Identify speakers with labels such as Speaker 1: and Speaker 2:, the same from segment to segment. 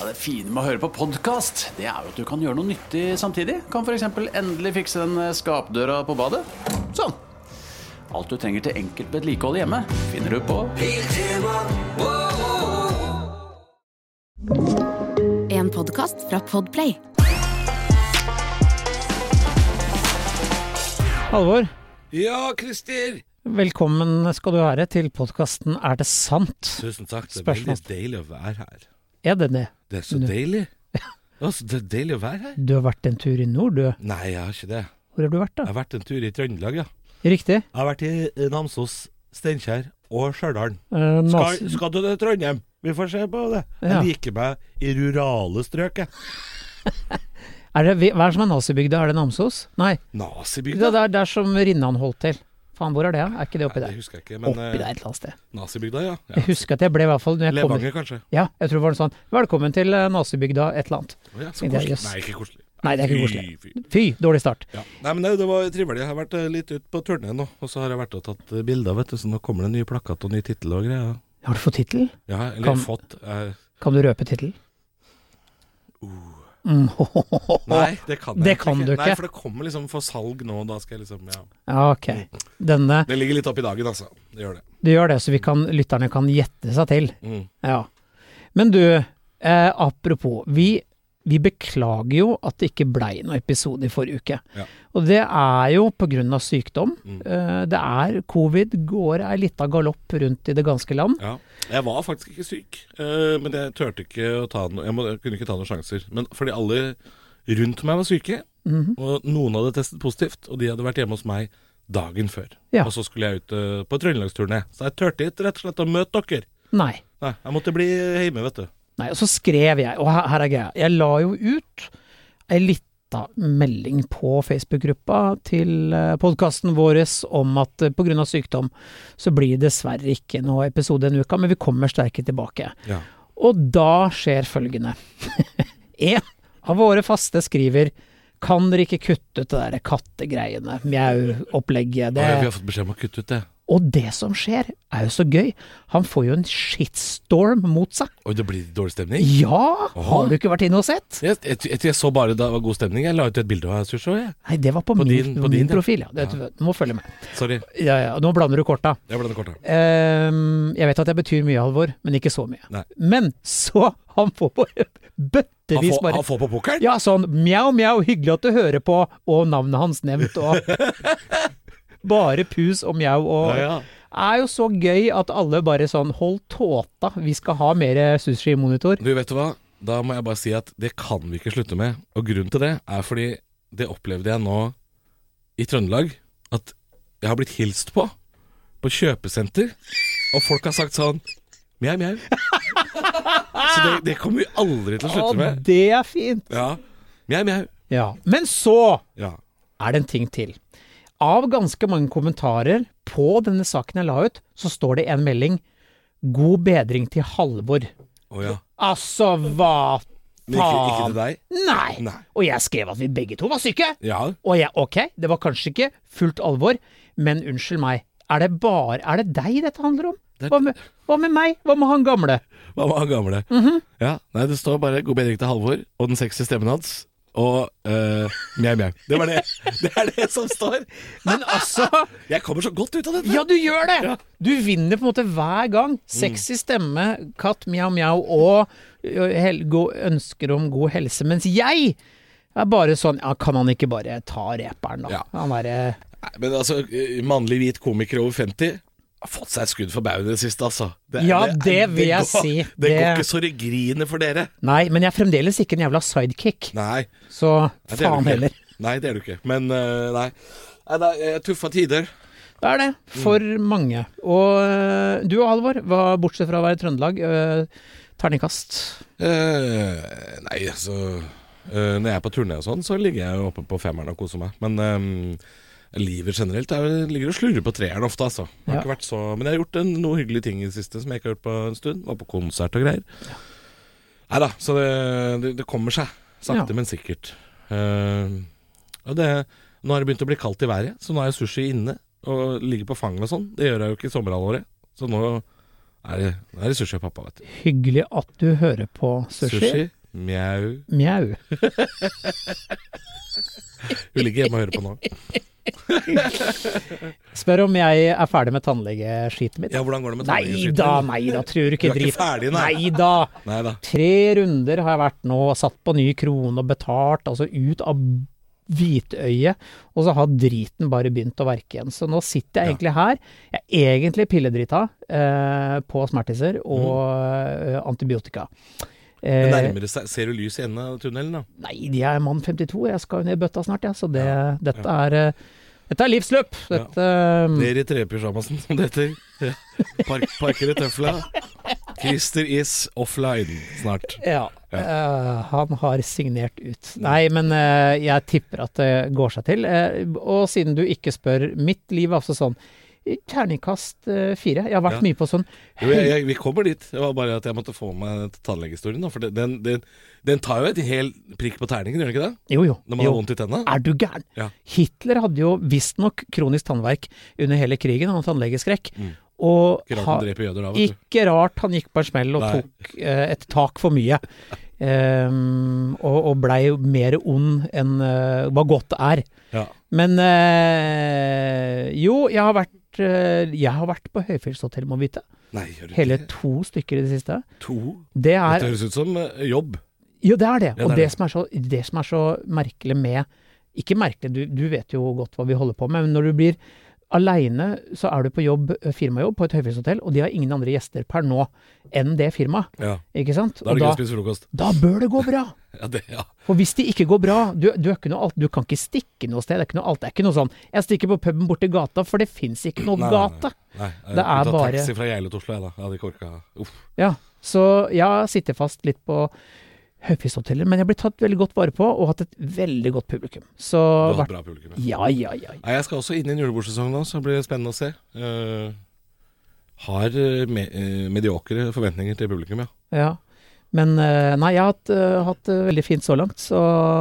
Speaker 1: Ja, det fine med å høre på podkast, det er jo at du kan gjøre noe nyttig samtidig. Kan f.eks. endelig fikse den eh, skapdøra på badet. Sånn. Alt du trenger til enkelt vedlikehold hjemme, finner du på
Speaker 2: En podcast fra Podplay
Speaker 3: Halvor,
Speaker 4: Ja, Christer!
Speaker 3: velkommen skal du være til podkasten Er det sant?
Speaker 4: Tusen takk. Det er
Speaker 3: Spørsmål.
Speaker 4: veldig deilig å være her.
Speaker 3: Er det det?
Speaker 4: Det er så
Speaker 3: Du-
Speaker 4: deilig. Altså, det er deilig å være her.
Speaker 3: Du har vært en tur i nord, du.
Speaker 4: Nei, jeg har ikke det.
Speaker 3: Hvor har du vært,
Speaker 4: Jeg
Speaker 3: da?
Speaker 4: har vært en tur i Trøndelag, ja.
Speaker 3: Riktig. Eh,
Speaker 4: Jeg har vært i eh, Namsos, Steinkjer og Stjørdal.
Speaker 3: Eh,
Speaker 4: Skal,
Speaker 3: Nas-
Speaker 4: skal du til Trondheim? Vi får se på det.
Speaker 3: Ja.
Speaker 4: Jeg liker meg i rurale strøk, jeg.
Speaker 3: er det, vi- hva er det som er nazibygda? Er det Namsos? Nei, det
Speaker 4: Nazibygda?
Speaker 3: er der- der som Rinnan holdt til. Faen, hvor er det? da? Er ikke det oppi
Speaker 4: Nei, det
Speaker 3: der?
Speaker 4: husker jeg ikke, men
Speaker 3: Oppi der
Speaker 4: eh,
Speaker 3: et eller annet sted.
Speaker 4: nazibygda, ja.
Speaker 3: Jeg
Speaker 4: ja.
Speaker 3: husker at jeg ble i hvert fall når jeg kom
Speaker 4: Levanger, kanskje?
Speaker 3: Ja, jeg tror det var noe sånn Velkommen til eh, nazibygda et eller annet.
Speaker 4: Å, ja, så
Speaker 3: Men det er
Speaker 4: koselig.
Speaker 3: jøss.
Speaker 4: Nei, ikke koselig.
Speaker 3: Nei, det er ikke
Speaker 4: Fy,
Speaker 3: koselig.
Speaker 4: fy.
Speaker 3: Fy, dårlig start.
Speaker 4: Ja. Nei, men det, det var trivelig. Jeg har vært eh, litt ute på turné nå, og så har jeg vært og tatt eh, bilder, vet du. Så nå kommer det en ny plakat og ny tittel og greier.
Speaker 3: Har du fått tittel?
Speaker 4: Ja, eller
Speaker 3: Kan-
Speaker 4: fått eh,
Speaker 3: Kan du røpe tittel? Mm,
Speaker 4: Uh. Nei, det kan jeg
Speaker 3: Det
Speaker 4: egentlig
Speaker 3: kan du
Speaker 4: Nei,
Speaker 3: ikke.
Speaker 4: for det kommer liksom for salg nå, og da skal jeg liksom Ja.
Speaker 3: Ja, ok. Denne
Speaker 4: Det ligger litt opp i dagen, altså. Det gjør det.
Speaker 3: Du gjør det, så vi kan, lytterne kan gjette seg til.
Speaker 4: Mm.
Speaker 3: Ja. Men du, eh, apropos. Vi, vi beklager jo at det ikke blei noen episode i forrige uke.
Speaker 4: Ja. Mm.
Speaker 3: Og det er jo pga. sykdom. Eh, det er covid, går ei lita galopp rundt i det ganske land.
Speaker 4: Ja. Jeg var faktisk ikke syk, eh, men jeg turte ikke å ta noe Jeg, må, jeg kunne ikke ta noen sjanser. Men fordi alle rundt meg var syke,
Speaker 3: Mhm.
Speaker 4: og noen hadde testet positivt, og de hadde vært hjemme hos meg dagen før.
Speaker 3: Ja.
Speaker 4: Og så skulle jeg ut eh, på trøndelagsturné, så jeg turte ikke rett og slett å møte dere.
Speaker 3: Nei.
Speaker 4: Nei, jeg måtte bli hjemme, vet du.
Speaker 3: Nei, og så skrev jeg, og her, her er greia, jeg la jo ut ei lita melding på Facebook-gruppa til podkasten vår om at eh, pga. sykdom så blir det dessverre ikke noe episode denne uka, men vi kommer sterke tilbake.
Speaker 4: Ja.
Speaker 3: Og da skjer følgende. En av våre faste skriver kan dere ikke kutte ut det der kattegreiene,
Speaker 4: Å, ja,
Speaker 3: mjau-opplegget.
Speaker 4: vi
Speaker 3: Det,
Speaker 4: har fått beskjed om å kutte ut det.
Speaker 3: og det som skjer, er jo så gøy. Han får jo en shitstorm mot seg.
Speaker 4: Oi, det blir dårlig stemning.
Speaker 3: Ja! Har
Speaker 4: Åh.
Speaker 3: du ikke vært inne og sett?
Speaker 4: Jeg, jeg, jeg, jeg så bare det var god stemning. Jeg la ut et bilde av Susho, jeg.
Speaker 3: Nei, det var på,
Speaker 4: På
Speaker 3: min,
Speaker 4: din- på
Speaker 3: på min
Speaker 4: din, ja.
Speaker 3: profil, ja. Det, Du må følge med.
Speaker 4: Sorry,
Speaker 3: Ja, ja, nå blander du korta.
Speaker 4: jeg blander korta.
Speaker 3: Ehm, jeg vet at jeg betyr mye, Halvor, men ikke så mye.
Speaker 4: Nei.
Speaker 3: Men så Han får bare
Speaker 4: Han
Speaker 3: bøttevis
Speaker 4: får,
Speaker 3: bare
Speaker 4: han får på pokeren?
Speaker 3: Ja, sånn mjau, mjau, hyggelig at du hører på, og navnet hans nevnt, og Bare pus og mjau og
Speaker 4: Ja, ja.
Speaker 3: Er jo så gøy at alle bare sånn Hold tåta, vi skal ha mer sushi-monitor.
Speaker 4: Du, vet du hva? Da må jeg bare si at det kan vi ikke slutte med. Og grunnen til det er fordi det opplevde jeg nå i Trøndelag. At jeg har blitt hilst på på kjøpesenter, og folk har sagt sånn mjau, mjau. Så det, det kommer vi aldri til å
Speaker 3: Og
Speaker 4: slutte med.
Speaker 3: det er fint.
Speaker 4: Ja. Mjau, mjau.
Speaker 3: Ja. Men så
Speaker 4: Ja.
Speaker 3: er det en ting til. Av ganske mange kommentarer på denne saken jeg la ut, så står det en melding 'God bedring til Halvor'.
Speaker 4: Å ja.
Speaker 3: Altså, hva
Speaker 4: Men ikke, ikke til
Speaker 3: faen?
Speaker 4: deg?
Speaker 3: Nei.
Speaker 4: Nei.
Speaker 3: Og jeg skrev at vi begge to var syke.
Speaker 4: Ja.
Speaker 3: Og jeg, ok, det var kanskje ikke fullt alvor, men unnskyld meg, er det bare Er det deg dette handler om?
Speaker 4: Det er-
Speaker 3: Hva med, hva med meg? Hva med han gamle?
Speaker 4: Hva var han gamle?
Speaker 3: Mhm.
Speaker 4: Ja, nei, det står bare 'God bedring til Halvor' og den sexy stemmen hans. Og eh, mjau, mjau. Det var det. Det er det som står.
Speaker 3: Men altså
Speaker 4: Jeg kommer så godt ut av dette.
Speaker 3: Ja, du gjør det!
Speaker 4: Ja.
Speaker 3: Du vinner på en måte hver gang. Sexy stemme, katt mjau mjau og ø, hel, go, ønsker om god helse. Mens jeg er bare sånn Ja, kan han ikke bare ta reperen, da?
Speaker 4: Ja.
Speaker 3: Han derre
Speaker 4: Nei, men altså, eh, mannlig hvit komiker over 50 har fått seg et skudd for baugen i det siste, altså. Det,
Speaker 3: Ja, det vil jeg
Speaker 4: går,
Speaker 3: si.
Speaker 4: Det,
Speaker 3: Det-
Speaker 4: går ikke så det griner for dere.
Speaker 3: Nei, men jeg er fremdeles ikke en jævla sidekick.
Speaker 4: Nei. nei,
Speaker 3: Så
Speaker 4: det er du
Speaker 3: faen
Speaker 4: ikke.
Speaker 3: heller.
Speaker 4: Nei, det er du ikke. Men eh, nei. Nei, nei, eh, Tuffa tider.
Speaker 3: Det er det. For
Speaker 4: Mm.
Speaker 3: mange. Og ø, du og Halvor, var bortsett fra å være i Trøndelag, ø, terningkast.
Speaker 4: Eh, nei, altså eh, Når jeg er på turné og sånn, så ligger jeg jo oppe på femmeren og koser meg. Men ehm, livet generelt er, jo- ligger og slurver på treeren ofte, altså. Jeg har
Speaker 3: Ja.
Speaker 4: ikke vært så, men jeg har gjort en, noen hyggelige ting i det siste som jeg ikke har gjort på en stund. Var på konsert og greier. Nei da, så det, det, det kommer seg. Sakte,
Speaker 3: Ja.
Speaker 4: men sikkert. Ehm, og det, nå har det begynt å bli kaldt i været, så nå er jeg sushi inne og ligger på fanget og sånn. Det gjør jeg jo ikke i sommerhalvåret, så nå er det, nå er det sushi og pappa, vet du.
Speaker 3: Hyggelig at du hører på sushi.
Speaker 4: mjau
Speaker 3: Mjau.
Speaker 4: Hun ligger hjemme og hører på nå.
Speaker 3: Spør om jeg er ferdig med tannlegeskitet mitt.
Speaker 4: Ja, hvordan går det med
Speaker 3: Nei da, nei da, tror du ikke
Speaker 4: Du er ikke
Speaker 3: drit.
Speaker 4: ferdig, nei.
Speaker 3: Nei Eh. da.
Speaker 4: Nei da.
Speaker 3: Tre runder har jeg vært nå, satt på ny krone og betalt, altså ut av hvitøyet, og så har driten bare begynt å verke igjen. Så nå sitter jeg egentlig her, jeg er egentlig pilledrita eh, på smertiser og eh, antibiotika.
Speaker 4: Mhm. Det
Speaker 3: Eh,
Speaker 4: nærmer seg. Ser du lys i enden av tunnelen, da?
Speaker 3: nei, jeg er mann 52, jeg skal jo ned i bøtta snart, ja, så det, dette, er, eh, dette er livsløp. Dette, eh,
Speaker 4: Det er i trepysjamasen, som det heter. Ja. Park, parker i tøfla. Christer is offline snart.
Speaker 3: Ja. eh, han har signert ut. Nei, men eh, jeg tipper at det går seg til. Eh, og siden du ikke spør, mitt liv er altså sånn i Terningkast eh, fire. Jeg har vært
Speaker 4: Ja.
Speaker 3: mye på sånn
Speaker 4: Jo, jeg, jeg, vi kommer dit. Det var bare at jeg måtte få med tannlegehistorien. da, For den, den, den, den tar jo et hel prikk på terningen, gjør den ikke det?
Speaker 3: Jo, jo.
Speaker 4: Når man har
Speaker 3: jo. Ah,
Speaker 4: vondt i tenna?
Speaker 3: Er du gæren?
Speaker 4: Ja.
Speaker 3: Hitler hadde jo visstnok kronisk tannverk under hele krigen, han hadde tannlegeskrekk. Og
Speaker 4: Mm. Ikke rart
Speaker 3: ha-
Speaker 4: man dreper jøder da, vet du.
Speaker 3: Ikke rart han gikk på en smell og
Speaker 4: Nei.
Speaker 3: tok eh, et tak for mye. Ehm, og og blei mer ond enn eh, hva godt er.
Speaker 4: Ja.
Speaker 3: Men eh, jo, jeg har vært eh, jeg har vært på høyfjellshotell, må vite.
Speaker 4: Nei, gjør du
Speaker 3: Hele
Speaker 4: ikke
Speaker 3: to stykker i det siste.
Speaker 4: to?
Speaker 3: Det er
Speaker 4: Dette høres ut som eh, jobb.
Speaker 3: Jo, det er det.
Speaker 4: Ja,
Speaker 3: Og
Speaker 4: det er
Speaker 3: det
Speaker 4: det.
Speaker 3: som er så, det som er så merkelig med Ikke merkelig, du, du vet jo godt hva vi holder på med, men når du blir aleine, så er du på jobb, eh, firmajobb på et høyfjellshotell, og de har ingen andre gjester per nå enn det firmaet.
Speaker 4: Ja.
Speaker 3: Ikke sant?
Speaker 4: Da er
Speaker 3: Og
Speaker 4: det gøy
Speaker 3: da,
Speaker 4: å spise frokost.
Speaker 3: da bør det gå bra!
Speaker 4: Ja, det, ja.
Speaker 3: For hvis det ikke går bra, du, du, er ikke noe, alt- du kan ikke stikke noe sted. Det er ikke noe, alt, det er ikke noe sånn 'jeg stikker på puben borti gata', for det fins ikke noe
Speaker 4: Nei, nei, nei.
Speaker 3: gate.
Speaker 4: Nei, jeg
Speaker 3: Det er
Speaker 4: kunne tatt
Speaker 3: bare-
Speaker 4: taxi fra Geilo til Oslo, jeg da. Jeg hadde ikke orka. Uff.
Speaker 3: Ja, Så jeg sitter fast litt på høyfjellshotellet, men jeg blir tatt veldig godt vare på og hatt et veldig godt publikum. Så
Speaker 4: Du hadde
Speaker 3: vært,
Speaker 4: bra publikum. ja.
Speaker 3: Ja, ja, ja.
Speaker 4: Nei, jeg skal også inn i en julebordsesong nå, så det blir spennende å se. Eh, har eh, me eh, mediokre forventninger til publikum, ja.
Speaker 3: ja. Men eh, nei, jeg har hatt, eh, hatt det veldig fint så langt, så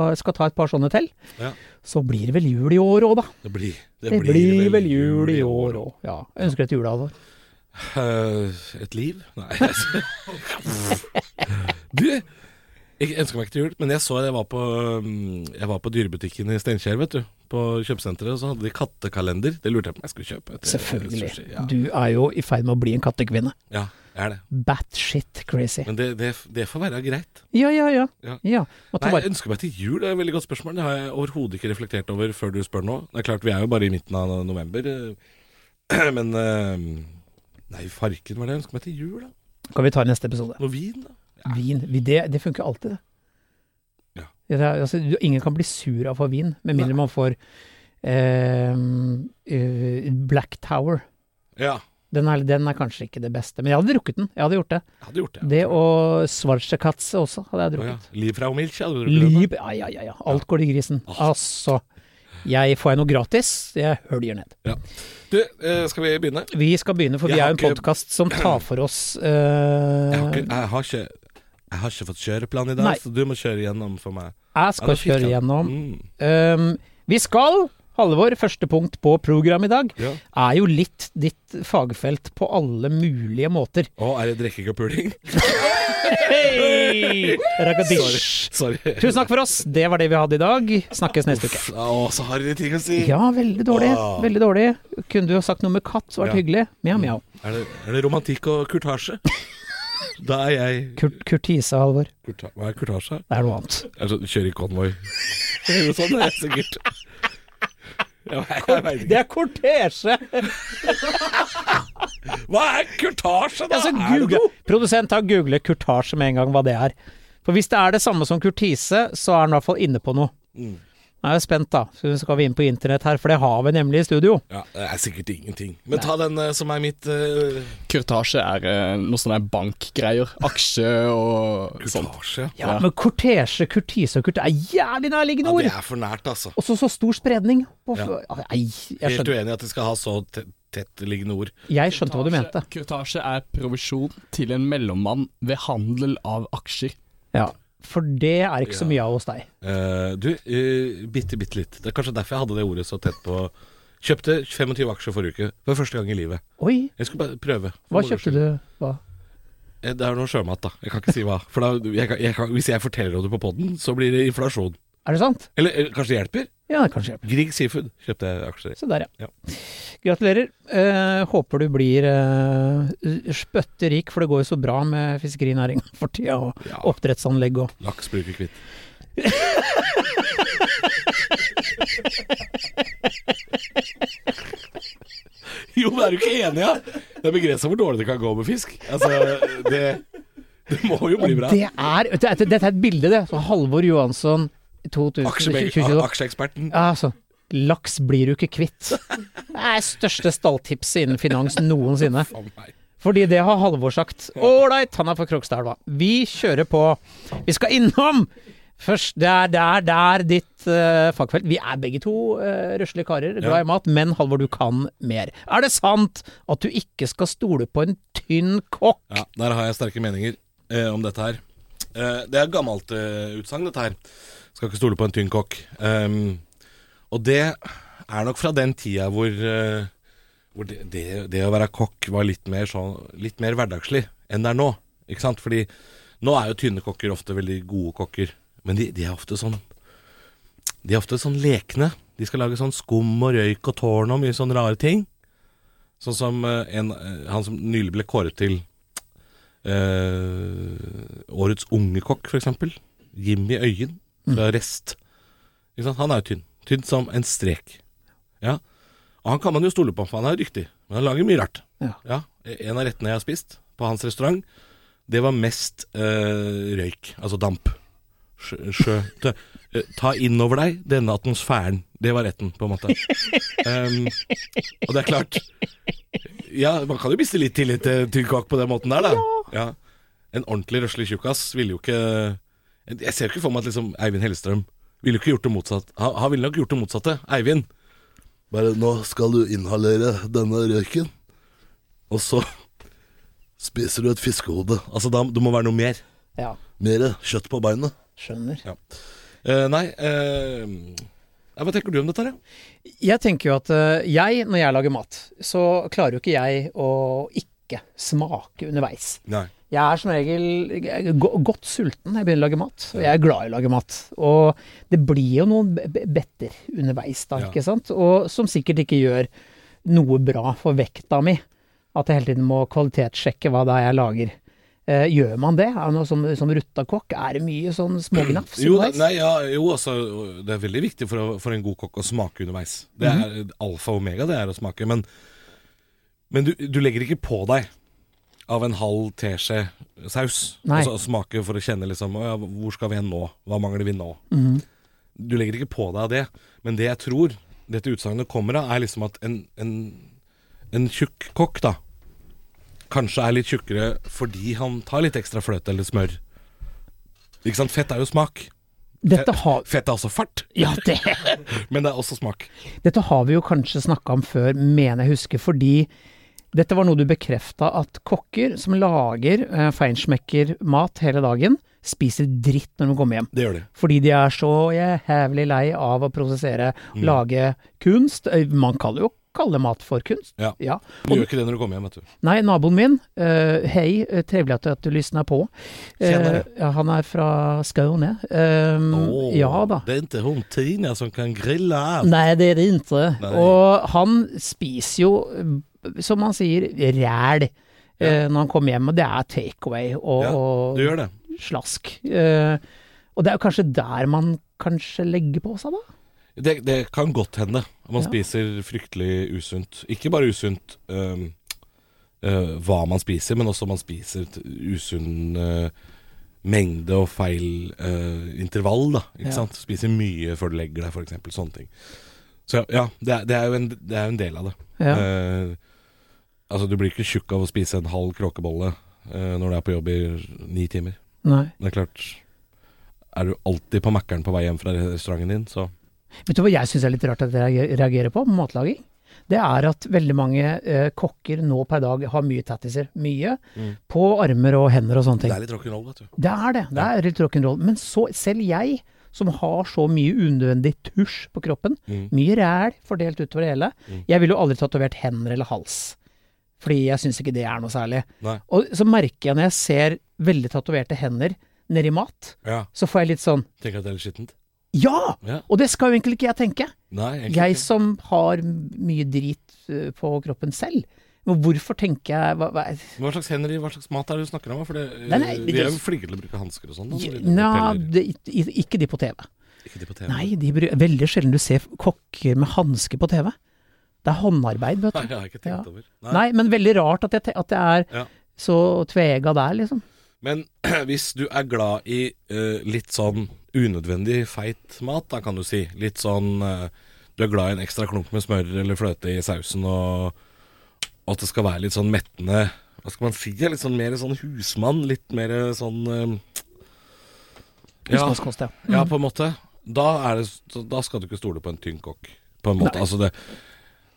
Speaker 3: jeg skal ta et par sånne til.
Speaker 4: Ja.
Speaker 3: Så blir det vel jul i år òg, da.
Speaker 4: Det blir,
Speaker 3: Det, blir vel jul i år òg. Ja. Jeg ønsker et julealvor.
Speaker 4: Eh, et liv? Nei. altså. du, jeg ønsker meg ikke til jul, men jeg så jeg var på, mm, jeg var på dyrebutikken i Steinkjer, vet du. På kjøpesenteret, og så hadde de kattekalender. Det lurte jeg på om jeg skulle kjøpe. til
Speaker 3: Selvfølgelig.
Speaker 4: sushi. Ja.
Speaker 3: Du er jo i ferd med å bli en kattekvinne.
Speaker 4: ja, jeg er det.
Speaker 3: Batshit crazy.
Speaker 4: Men det, det, det får være greit.
Speaker 3: Ja, ja, ja.
Speaker 4: Ja.
Speaker 3: ja. Må ta
Speaker 4: Nei, jeg
Speaker 3: vare.
Speaker 4: ønsker meg til jul, det er et veldig godt spørsmål. Det har jeg overhodet ikke reflektert over før du spør nå. Det er klart, vi er jo bare i midten av november, eh, men eh, Nei, farken, hva er det jeg ønsker meg til jul, da?
Speaker 3: Kan vi ta i neste episode?
Speaker 4: Noe vin, da?
Speaker 3: Vin. vi- Det, det funker alltid, det.
Speaker 4: Ja.
Speaker 3: Det er, altså, du- ingen kan bli sur av å få vin, med mindre man får eh, eh, Black Tower.
Speaker 4: Ja,
Speaker 3: Den er, den er kanskje ikke det beste, men jeg hadde drukket den. Jeg hadde gjort det.
Speaker 4: jeg hadde gjort det.
Speaker 3: Det og Schwarzekatze også
Speaker 4: Å,
Speaker 3: hadde jeg
Speaker 4: ja.
Speaker 3: drukket.
Speaker 4: Liv fra Omilch, hadde du drukket den,
Speaker 3: Lib Ja, ja, ja. ja. Alt går til grisen. Altså. Jeg får jeg noe gratis, jeg høljer ned.
Speaker 4: da? Ja. Du, eh, skal vi begynne?
Speaker 3: Vi skal begynne, for
Speaker 4: Jeg
Speaker 3: vi
Speaker 4: har
Speaker 3: er jo en
Speaker 4: ikke-
Speaker 3: podkast som tar for oss eh,
Speaker 4: Jeg har, ikke, jeg, har ikke, jeg har ikke fått kjøreplan i dag,
Speaker 3: Nei.
Speaker 4: så du må kjøre gjennom for meg.
Speaker 3: Jeg
Speaker 4: Ja,
Speaker 3: skal
Speaker 4: det er fint,
Speaker 3: kjøre
Speaker 4: ja.
Speaker 3: gjennom.
Speaker 4: Mm.
Speaker 3: Um, vi skal, Halvor, første punkt på programmet i dag,
Speaker 4: Ja.
Speaker 3: er jo litt ditt fagfelt på alle mulige måter.
Speaker 4: Å, er det drikking og puling?
Speaker 3: Hei! Ragadish.
Speaker 4: Sorry.
Speaker 3: Tusen takk for oss, det var det vi hadde i dag. Snakkes neste uke.
Speaker 4: Å, så har dere ting å si.
Speaker 3: Ja, veldig dårlig.
Speaker 4: Åh.
Speaker 3: Veldig dårlig. Kunne du ha sagt noe med katt, så
Speaker 4: Ja.
Speaker 3: hadde vært
Speaker 4: Mm.
Speaker 3: hyggelig. Mjau, mjau.
Speaker 4: Er det, er det romantikk og kurtasje? Da er jeg
Speaker 3: Kurt, kurtise, Halvor.
Speaker 4: kurta, Hva er kurtasje?
Speaker 3: Det er noe annet.
Speaker 4: Altså, kjøre i konvoi. Det er jo sånn, det er sikkert. Jeg, vet- jeg vet ikke.
Speaker 3: Det er kortesje!
Speaker 4: Hva er kurtasje, da?
Speaker 3: Altså,
Speaker 4: Er det
Speaker 3: Google,
Speaker 4: noe?
Speaker 3: produsent har googlet kurtasje med en gang hva det er. For hvis det er det samme som kurtise, så er han i hvert fall inne på noe.
Speaker 4: Mm.
Speaker 3: Nå er jeg spent, da. Så skal vi inn på internett her, for det har vi nemlig i studio.
Speaker 4: Ja, det er sikkert ingenting. Men ta den eh, som er mitt eh,
Speaker 5: Kurtasje er eh, noe sånn der bankgreier. Aksje og sånt.
Speaker 4: kurtasje.
Speaker 3: Ja, Men kortesje, kurtise og kurt er jævlig nærliggende
Speaker 4: Ja, det
Speaker 3: ord!
Speaker 4: er for nært, altså.
Speaker 3: Og så så stor spredning. På,
Speaker 4: Ja.
Speaker 3: Nei, jeg
Speaker 4: Helt
Speaker 3: skjønte,
Speaker 4: uenig i at de skal ha så te- tettliggende ord.
Speaker 3: jeg skjønte hva du mente.
Speaker 5: Kurtasje- Kurtasje er provisjon til en mellommann ved handel av aksjer.
Speaker 3: Ja. For det er ikke så mye av hos deg.
Speaker 4: Eh, du, eh, bitte, bitte litt. Det er kanskje derfor jeg hadde det ordet så tett på Kjøpte 25 aksjer forrige uke. For første gang i livet.
Speaker 3: Oi,
Speaker 4: Jeg skulle bare prøve.
Speaker 3: hva kjøpte du? Hva?
Speaker 4: Eh, Det er noe sjømat, da. Jeg kan ikke si hva. For da, jeg kan, jeg kan, Hvis jeg forteller om det på poden, så blir det inflasjon.
Speaker 3: Er det sant?
Speaker 4: Eller, eller kanskje det hjelper?
Speaker 3: Ja, det kanskje.
Speaker 4: Grieg Seafood kjøpte jeg aksjer i.
Speaker 3: Se der, ja. Gratulerer. Eh, håper du blir eh, spøtte rik, for det går jo så bra med fiskerinæringa for tida, og
Speaker 4: Ja.
Speaker 3: oppdrettsanlegg og
Speaker 4: Laks bruker kvitt. Jo, men er du ikke enig, ja? Det er begrensa hvor dårlig det kan gå med fisk. Altså, det, det må jo bli bra.
Speaker 3: Det er, dette er- dette er et bilde, det. Så Halvor Johansson i 2022.
Speaker 4: Aksjeme- Aksjeeksperten.
Speaker 3: Ja, altså. Laks blir du ikke kvitt. Det er største stalltipset innen finans noensinne.
Speaker 4: Faen meg.
Speaker 3: Fordi det har Halvor sagt. Ålreit, han er fra Krokstadelva. Vi kjører på. Vi skal innom! Først, det er der, der ditt eh, fagfelt. Vi er begge to uh, ruslige karer, glad i mat, men Halvor, du kan mer. Er det sant at du ikke skal stole på en tynn kokk?
Speaker 4: Ja, der har jeg sterke meninger eh, om dette her. Eh, det er gammelt eh, utsagn, dette her. Skal ikke stole på en tynn kokk. Ehm, og det er nok fra den tida hvor, eh, hvor det, det, det å være kokk var litt mer, sånn, litt mer hverdagslig enn det er nå. Ikke sant? Fordi nå er jo tynne kokker ofte veldig gode kokker, men de, de er ofte sånn De er ofte sånn lekne. De skal lage sånn skum og røyk og tårn og mye sånne rare ting. Sånn som eh, en, eh, han som nylig ble kåret til Eh, årets unge kokk, for eksempel. Jimmy Øyen fra Rest. Ikke sant? Han er jo tynn. Tynn som en strek. Ja. Og han kan man jo stole på, for han er jo dyktig. Men han lager mye rart.
Speaker 3: Ja.
Speaker 4: En av rettene jeg har spist på hans restaurant, det var mest eh, røyk, altså damp. Sjø, sjø ta, eh, ta innover deg denne atmosfæren. Det var retten, på en måte. Em, og det er klart Ja, man kan jo miste litt tillit til tynn kokk på den måten der, da. Ja. En ordentlig røslig tjukkas ville jo ikke Jeg ser jo ikke for meg at liksom Eivind Hellstrøm ville jo ikke gjort det motsatt. Han, han ville nok gjort det motsatte. Eivind. Bare nå skal du inhalere denne røyken, og så spiser du et fiskehode. Altså, da, det må være noe mer.
Speaker 3: Ja,
Speaker 4: Mer kjøtt på beinet.
Speaker 3: skjønner.
Speaker 4: Eh, nei eh, ja, Hva tenker du om dette? her? ja?
Speaker 3: Jeg tenker jo at eh, jeg, når jeg lager mat, så klarer jo ikke jeg å ikke smake underveis.
Speaker 4: Nei.
Speaker 3: Jeg er som regel jeg er go- godt sulten når jeg begynner å lage mat. Og jeg er glad i å lage mat. Og det blir jo noen be- be- better underveis da,
Speaker 4: Ja.
Speaker 3: ikke sant? Og som sikkert ikke gjør noe bra for vekta mi. At jeg hele tiden må kvalitetssjekke hva det er jeg lager. Eh, gjør man det? Er det noe som, som rutta kokk? Er det mye sånn smågnafs
Speaker 4: Jo,
Speaker 3: underveis?
Speaker 4: nei, ja, jo altså, det er veldig viktig for, å- for en god kokk å smake underveis. Det er
Speaker 3: Mhm.
Speaker 4: alfa og omega, det er å smake. Men, men du, du legger ikke på deg av en halv teskje saus.
Speaker 3: Nei.
Speaker 4: Altså smake for å kjenne liksom «Å ja, Hvor skal vi hen nå? Hva mangler vi nå?
Speaker 3: Mhm.
Speaker 4: Du legger ikke på deg av det. Men det jeg tror dette utsagnet kommer av, er liksom at en, en, en tjukk kokk, da Kanskje er litt tjukkere fordi han tar litt ekstra fløte eller smør. Ikke sant? Fett er jo smak.
Speaker 3: Dette har
Speaker 4: Fett er også fart,
Speaker 3: Ja, det
Speaker 4: men det er også smak.
Speaker 3: Dette har vi jo kanskje snakka om før, mener jeg husker, fordi dette var noe du bekrefta at kokker som lager eh, feinschmecker mat hele dagen, spiser dritt når de kommer hjem.
Speaker 4: Det gjør det.
Speaker 3: Fordi de er så jævlig lei av å prosessere,
Speaker 4: Mm.
Speaker 3: lage kunst. Eh, Man kan jo kalle mat for kunst.
Speaker 4: Ja.
Speaker 3: Ja.
Speaker 4: Du gjør ikke det når du kommer hjem, vet du.
Speaker 3: Nei, naboen min, eh, hei, eh, trevlig at, at du lysner på. Eh,
Speaker 4: Tjenere.
Speaker 3: ja, han er fra Skåne. Eh, ja da.
Speaker 4: Det er ikke hun Tina som kan grille av.
Speaker 3: Nei, det er det ikke.
Speaker 4: Nei.
Speaker 3: Og han spiser jo, som han sier, ræl eh, når han kommer hjem. Og det er takeaway og,
Speaker 4: Ja,
Speaker 3: og
Speaker 4: Du gjør det.
Speaker 3: slask. Eh, og det er jo kanskje der man kanskje legger på seg, da?
Speaker 4: det. Det kan godt hende. Man
Speaker 3: Ja.
Speaker 4: spiser fryktelig usunt. Ikke bare usunt øhm, øh, hva man spiser, men også man spiser et usunn øh, mengde og feil øh, intervall. Da, ikke
Speaker 3: Ja.
Speaker 4: sant? Spiser mye før du legger deg, f.eks. Sånne ting. Så ja, det er, det, er jo en, det er jo en del av det.
Speaker 3: Ja.
Speaker 4: Eh, altså, du blir ikke tjukk av å spise en halv kråkebolle eh, når du er på jobb i ni timer.
Speaker 3: Nei.
Speaker 4: Men det er klart Er du alltid på Mækkern på vei hjem fra restauranten din, så
Speaker 3: Vet du hva jeg syns er litt rart at jeg reagerer på, på matlaging? Det er at veldig mange eh, kokker nå per dag har mye tattiser. Mye
Speaker 4: Mm.
Speaker 3: på armer og hender og sånne ting.
Speaker 4: litt rock'n'roll, vet du.
Speaker 3: Det er det. Det er litt rock'n'roll. Men så, selv jeg som har så mye unødvendig tusj på kroppen. Mye ræl fordelt utover det hele.
Speaker 4: Mm.
Speaker 3: Jeg ville jo aldri tatovert hender eller hals, fordi jeg syns ikke det er noe særlig.
Speaker 4: Nei.
Speaker 3: Og så merker jeg når jeg ser veldig tatoverte hender nedi mat,
Speaker 4: Ja.
Speaker 3: så får jeg litt sånn
Speaker 4: Tenker at det er litt skittent?
Speaker 3: Ja!
Speaker 4: Ja.
Speaker 3: Og det skal jo egentlig ikke jeg tenke.
Speaker 4: Nei, egentlig
Speaker 3: Jeg
Speaker 4: ikke.
Speaker 3: som har mye drit eh, på kroppen selv. Men hvorfor tenker jeg hva, hva,
Speaker 4: Hva slags hender i hva slags mat er det du snakker om? da? For det,
Speaker 3: Nei, nei,
Speaker 4: vi
Speaker 3: det-
Speaker 4: er jo flinke til å bruke hansker og sånn. da, når vi
Speaker 3: Nja,
Speaker 4: peller.
Speaker 3: det, i- ikke de på TV.
Speaker 4: Ikke de på TV.
Speaker 3: Nei, de, bru- veldig sjelden du ser kokker med hansker på TV. Det er håndarbeid, vet
Speaker 4: Nei,
Speaker 3: du.
Speaker 4: jeg har ikke tenkt
Speaker 3: Ja.
Speaker 4: over.
Speaker 3: Nei, men veldig rart at, jeg, te- at det er
Speaker 4: Ja.
Speaker 3: så tvega der, liksom.
Speaker 4: Men hvis du er glad i eh, litt sånn unødvendig feit mat, da kan du si. Litt sånn eh, Du er glad i en ekstra klump med smør eller fløte i sausen, og, og at det skal være litt sånn mettende Hva skal man si? ja, Litt sånn mer sånn husmann. Litt mer sånn eh, ja,
Speaker 3: Husmannskost, ja.
Speaker 4: ja, på en måte. Da, er det, så da skal du ikke stole på en tynn kokk, på en måte. Altså det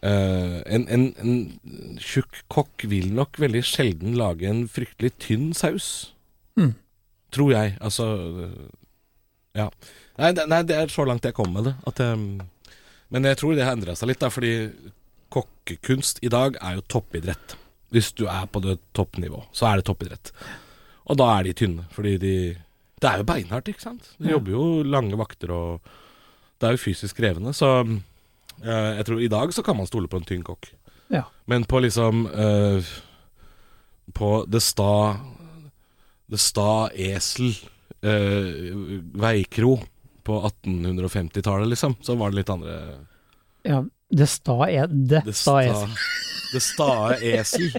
Speaker 4: eh, en, en, en tjukk kokk vil nok veldig sjelden lage en fryktelig tynn saus. Tror jeg. Altså eh, Ja. Nei, det, nei, det er så langt jeg kom med det. At jeg, men jeg tror det har endra seg litt, da, fordi kokkekunst i dag er jo toppidrett. Hvis du er på det toppnivå, så er det toppidrett. Og da er de tynne, fordi de Det er jo beinhardt, ikke sant? De jobber jo lange vakter, og det er jo fysisk krevende. Så eh, jeg tror i dag så kan man stole på en tynn kokk.
Speaker 3: ja.
Speaker 4: Men på liksom eh, På det sta Det sta esel eh, Veikro På 1850-tallet liksom Så var det litt andre
Speaker 3: ja. Det sta er Det,
Speaker 4: Det
Speaker 3: sta
Speaker 4: sta
Speaker 3: er
Speaker 4: Det stae esel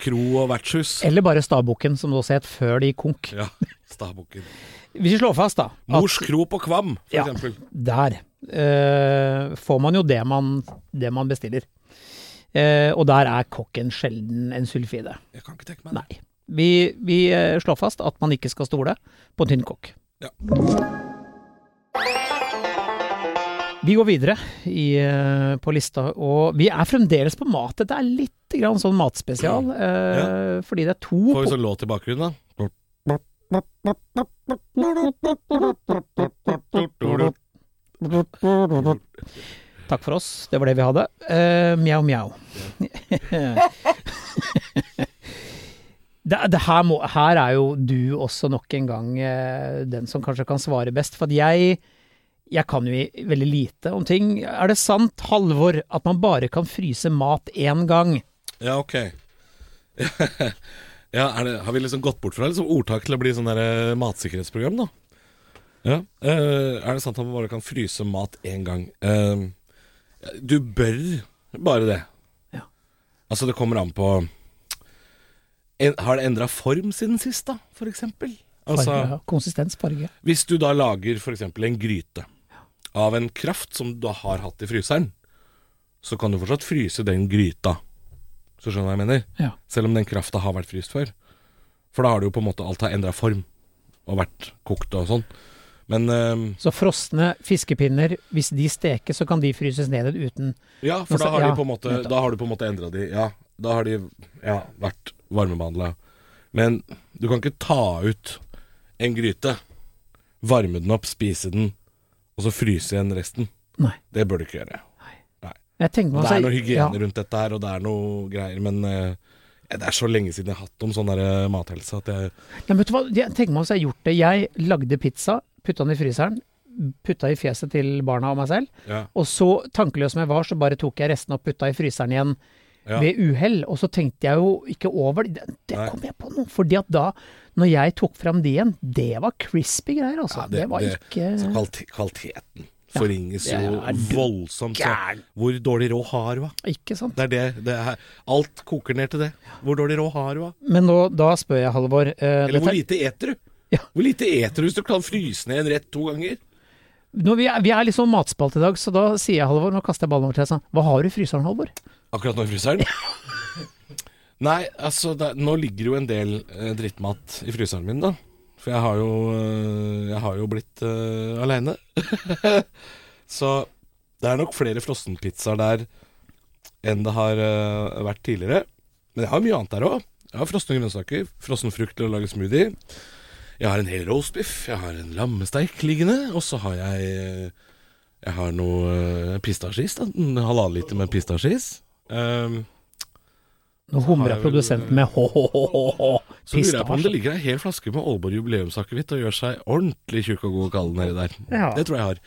Speaker 4: Kro og vertshus
Speaker 3: Eller bare Stabukken, som det også het før de konk.
Speaker 4: Ja, staboken
Speaker 3: Hvis vi slår fast, da, at
Speaker 4: Mors kro på kvam for
Speaker 3: Ja.
Speaker 4: eksempel
Speaker 3: der eh, får man jo det man, det man bestiller. Eh, og der er kokken sjelden en sulfide.
Speaker 4: Jeg kan ikke tenke meg det
Speaker 3: Nei. Vi, vi eh, slår fast at man ikke skal stole på en tynn kokk.
Speaker 4: Ja.
Speaker 3: Vi går videre i, eh, på lista, og vi er fremdeles på mat. Dette er litt grann sånn matspesial, eh, fordi det er to
Speaker 4: Får vi
Speaker 3: po-
Speaker 4: sånn låt i bakgrunnen da
Speaker 3: Takk for oss, det var det vi hadde. Eh, mjau, mjau. det, det her, må, her er jo du også nok en gang eh, den som kanskje kan svare best. For at jeg, jeg kan jo i- veldig lite om ting. Er det sant, Halvor, at man bare kan fryse mat én gang?
Speaker 4: Ja, ok. ja, er det, har vi liksom gått bort fra liksom ordtak til å bli sånn der eh, matsikkerhetsprogram, da? Ja. eh, er det sant at man bare kan fryse mat én gang? Eh, du bør bare det.
Speaker 3: Ja.
Speaker 4: Altså, det kommer an på en, Har det endra form siden sist, da, for eksempel?
Speaker 3: Farge,
Speaker 4: Altså,
Speaker 3: ja. Konsistens, farge.
Speaker 4: hvis du da lager f.eks. en gryte av en kraft som du da har hatt i fryseren, så kan du fortsatt fryse den gryta. Så skjønner du hva jeg mener?
Speaker 3: Ja.
Speaker 4: Selv om den krafta har vært fryst før. For da har det jo på en måte alt har endra form, og vært kokt og sånn. Men ehm, øhm,
Speaker 3: Så frosne fiskepinner, hvis de stekes, så kan de fryses ned uten
Speaker 4: Ja, for
Speaker 3: Men så-
Speaker 4: da har,
Speaker 3: ja,
Speaker 4: de på en måte,
Speaker 3: nettopp.
Speaker 4: da har du på en måte endra de Ja, da har de ja, vært varmebehandla. Men du kan ikke ta ut en gryte, varme den opp, spise den, og så fryse igjen resten.
Speaker 3: Nei.
Speaker 4: Det bør du ikke gjøre.
Speaker 3: Jeg tenker meg
Speaker 4: Det
Speaker 3: altså-
Speaker 4: er noe hygiene
Speaker 3: ja.
Speaker 4: rundt dette her, og det er noe greier, men eh, det er så lenge siden jeg har hatt om sånn der eh, mathelse at jeg
Speaker 3: Nei, vet du hva? Jeg tenker meg om så jeg har gjort det. Jeg lagde pizza, putta den i fryseren, putta i fjeset til barna og meg selv.
Speaker 4: Ja.
Speaker 3: Og så, tankeløs som jeg var, så bare tok jeg resten og putta i fryseren igjen
Speaker 4: Ja.
Speaker 3: ved uhell. Og så tenkte jeg jo ikke over det. Det
Speaker 4: Nei.
Speaker 3: kom jeg på nå. Fordi at da, når jeg tok fram det igjen, det var crispy greier, altså.
Speaker 4: Ja,
Speaker 3: det, var ikke
Speaker 4: så kvalite- Kvaliteten forringes
Speaker 3: det
Speaker 4: jo
Speaker 3: er du
Speaker 4: voldsomt. så
Speaker 3: gæren.
Speaker 4: Hvor dårlig råd har du, da?
Speaker 3: Ikke sant.
Speaker 4: Det er det, det er, alt koker ned til det. Hvor dårlig råd har du? da?
Speaker 3: Men nå, da spør jeg Halvor. eh,
Speaker 4: Eller hvor
Speaker 3: dette-
Speaker 4: lite eter du?
Speaker 3: Ja.
Speaker 4: Hvor lite eter du hvis du kan fryse ned en rett to ganger?
Speaker 3: nå, vi, er, vi er litt sånn matspalt i dag, så da sier jeg Halvor, nå kaster jeg ballen over til deg sånn. Hva har du i fryseren, Halvor?
Speaker 4: Akkurat nå i fryseren? Nei, altså det, nå ligger jo en del eh, drittmat i fryseren min, da. For jeg har jo, eh, jeg har jo blitt eh, aleine. Så det er nok flere frossenpizzaer der enn det har eh, vært tidligere. Men jeg har mye annet der òg. Jeg har frosne grønnsaker, frossen frukt til å lage smoothie. Jeg har en hel roastbiff, jeg har en lammesteik liggende, og så har jeg eh, Jeg har noe eh, pistasjeis, da. En halvannen liter med pistasjeis. Um,
Speaker 3: Nå humrer
Speaker 4: jeg vel-
Speaker 3: produsenten med hå-hå-hå-hå.
Speaker 4: så lurer jeg på om det ligger ei hel flaske med Aalborg jubileumsakevitt og gjør seg ordentlig tjukk og god og kald nedi der.
Speaker 3: Ja.
Speaker 4: Det tror jeg jeg har.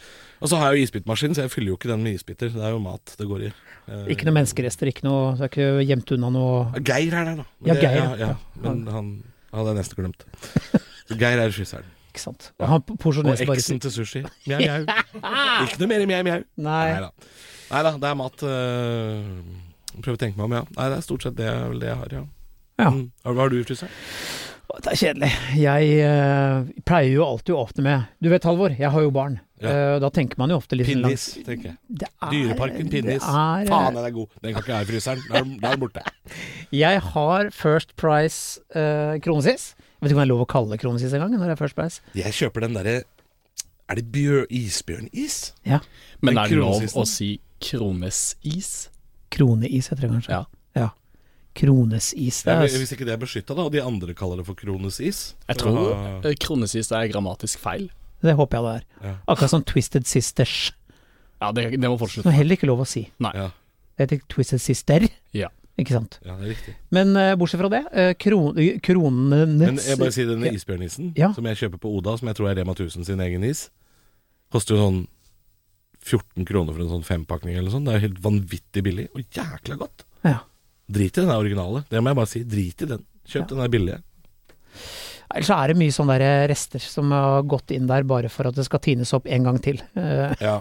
Speaker 4: Og så har jeg jo isbitmaskin, så jeg fyller jo ikke den med isbiter. Det er jo mat det går i. Eh,
Speaker 3: Ikke noe menneskerester, ikke noe Det er ikke gjemt unna noe
Speaker 4: Geir er der, da. Men
Speaker 3: Ja,
Speaker 4: det-
Speaker 3: Geir,
Speaker 4: ja, ja.
Speaker 3: ja.
Speaker 4: Men han hadde jeg nesten glemt. Så Geir er skisseren.
Speaker 3: Ikke sant. Han
Speaker 4: Og
Speaker 3: porsjoneres bare
Speaker 4: eksen til sushi. Mjau, mjau. Ikke noe mer mjau, mjau.
Speaker 3: Nei.
Speaker 4: Neida. Neida, det er mat øh, Prøver å tenke meg om, ja. Nei, det er stort sett det, er vel det jeg har, ja.
Speaker 3: Ja.
Speaker 4: Mm. Hva har du i fryseren?
Speaker 3: Å, Det er kjedelig. Jeg eh, pleier jo alltid å åpne med Du vet, Halvor, jeg har jo barn.
Speaker 4: Ja.
Speaker 3: Eh, da tenker man jo ofte litt sånn
Speaker 4: Pinnis,
Speaker 3: langs
Speaker 4: tenker jeg.
Speaker 3: Det er-
Speaker 4: Dyreparken
Speaker 3: det
Speaker 4: Pinnis.
Speaker 3: er-
Speaker 4: Faen, den er god. Den kan ikke jeg ha i fryseren. Da er den- da er den borte.
Speaker 3: Jeg har First Price eh, kronesis. Jeg vet ikke om det er lov å kalle det kronesis engang når det er First Price.
Speaker 4: Jeg kjøper den derre Er det bjør, isbjørnis?
Speaker 3: Ja.
Speaker 5: Men
Speaker 4: Men
Speaker 5: er det lov
Speaker 4: kronesisen?
Speaker 5: å si kronesis?
Speaker 3: Kroneis heter det kanskje.
Speaker 5: Ja.
Speaker 3: ja. Kronesis. Det
Speaker 4: Ja,
Speaker 3: er,
Speaker 4: men hvis ikke det er beskytta, da, og de andre kaller det for kronesis
Speaker 5: Jeg tror eh, kronesis er grammatisk feil.
Speaker 3: det håper jeg det er.
Speaker 4: Ja.
Speaker 3: Akkurat som Twisted Sisters.
Speaker 5: Ja, det, det må folk
Speaker 3: Som
Speaker 5: slutte med.
Speaker 3: heller ikke er lov å si.
Speaker 4: Ja,
Speaker 3: Det heter Twisted Sister,
Speaker 5: Ja.
Speaker 3: ikke sant.
Speaker 4: ja, det er riktig.
Speaker 3: Men eh, bortsett fra det, eh, kron
Speaker 4: Men
Speaker 3: kronenes
Speaker 4: jeg bare sier denne isbjørnisen,
Speaker 3: Ja.
Speaker 4: som jeg kjøper på Oda, som jeg tror er Rema 1000 sin egen is, koster jo sånn 14 kroner for en sånn fempakning eller sånn. Det er jo helt vanvittig billig, og jækla godt.
Speaker 3: ja.
Speaker 4: Drit i den der originale, det må jeg bare si. Drit i den. Kjøp den der billige.
Speaker 3: Ellers så er det mye sånne der eh, rester som har gått inn der bare for at det skal tines opp en gang til. Eh,
Speaker 4: Ja.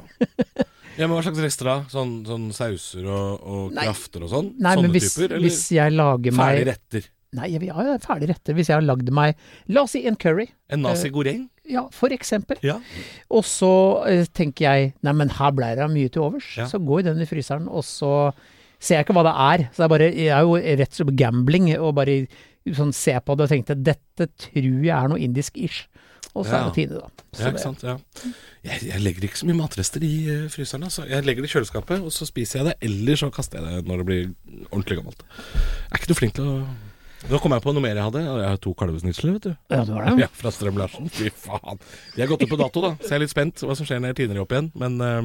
Speaker 4: ja, men hva slags rester da? Sånn, sånn sauser og, og
Speaker 3: Nei.
Speaker 4: krafter og sånn?
Speaker 3: nei,
Speaker 4: Sånne
Speaker 3: men hvis,
Speaker 4: typer? Eller
Speaker 3: hvis jeg lager meg
Speaker 4: ferdige retter?
Speaker 3: Nei, jeg, ja, ja, ferdig retter. Hvis jeg har lagd meg La oss si en curry,
Speaker 4: En nazi
Speaker 3: Eh,
Speaker 4: goreng?
Speaker 3: ja, for eksempel.
Speaker 4: Ja.
Speaker 3: Og så eh, tenker jeg nei, men her ble det mye til overs.
Speaker 4: Ja.
Speaker 3: Så går den i fryseren, og så ser jeg ikke hva det er. Så det er bare, jeg er jo rett og slett gambling, og bare sånn se på det og tenkte dette tror jeg er noe indisk-ish. Og
Speaker 4: Ja.
Speaker 3: så er det Tine, da.
Speaker 4: Ja,
Speaker 3: Så det-
Speaker 4: ikke sant. Ja. Jeg, jeg legger ikke så mye matrester i eh, fryseren. Altså. Jeg legger det i kjøleskapet, og så spiser jeg det. Eller så kaster jeg det når det blir ordentlig gammelt. Jeg er ikke noe flink til å Nå kom jeg på noe mer jeg hadde. Jeg har to kalvesnitsler, vet du.
Speaker 3: Ja, du har det.
Speaker 4: Ja, fra Strøm Larsen. Fy faen. De har gått ut på dato, da, så jeg er litt spent hva som skjer når jeg tiner de opp igjen. Men eh,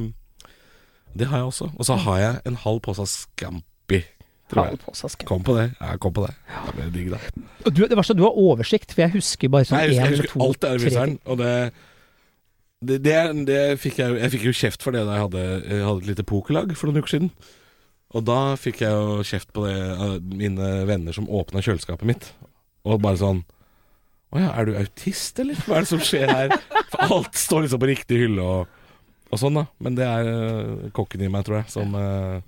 Speaker 4: det har jeg også. Og så har jeg en halv pose Scampi. Tror
Speaker 3: Halv
Speaker 4: jeg.
Speaker 3: pose skal jeg-
Speaker 4: Kom på det. Ja, kom på det. Det ble digg, da.
Speaker 3: Og Du, det verste er at du har oversikt, for jeg husker bare sånn
Speaker 4: Nei, jeg
Speaker 3: én
Speaker 4: husker, jeg
Speaker 3: eller
Speaker 4: husker
Speaker 3: to
Speaker 4: alt det der i
Speaker 3: tre
Speaker 4: fryseren,
Speaker 3: ting.
Speaker 4: og det det, det, er- det fikk jeg, jo- jeg fikk jo kjeft for det da jeg hadde, jeg hadde et lite pokerlag for noen uker siden. Og da fikk jeg jo kjeft på det av mine venner som åpna kjøleskapet mitt. Og bare sånn Å ja, er du autist, eller? Hva er det som skjer her? For alt står liksom på riktig hylle og, og sånn, da. Men det er øh, kokken i meg, tror jeg, som øh,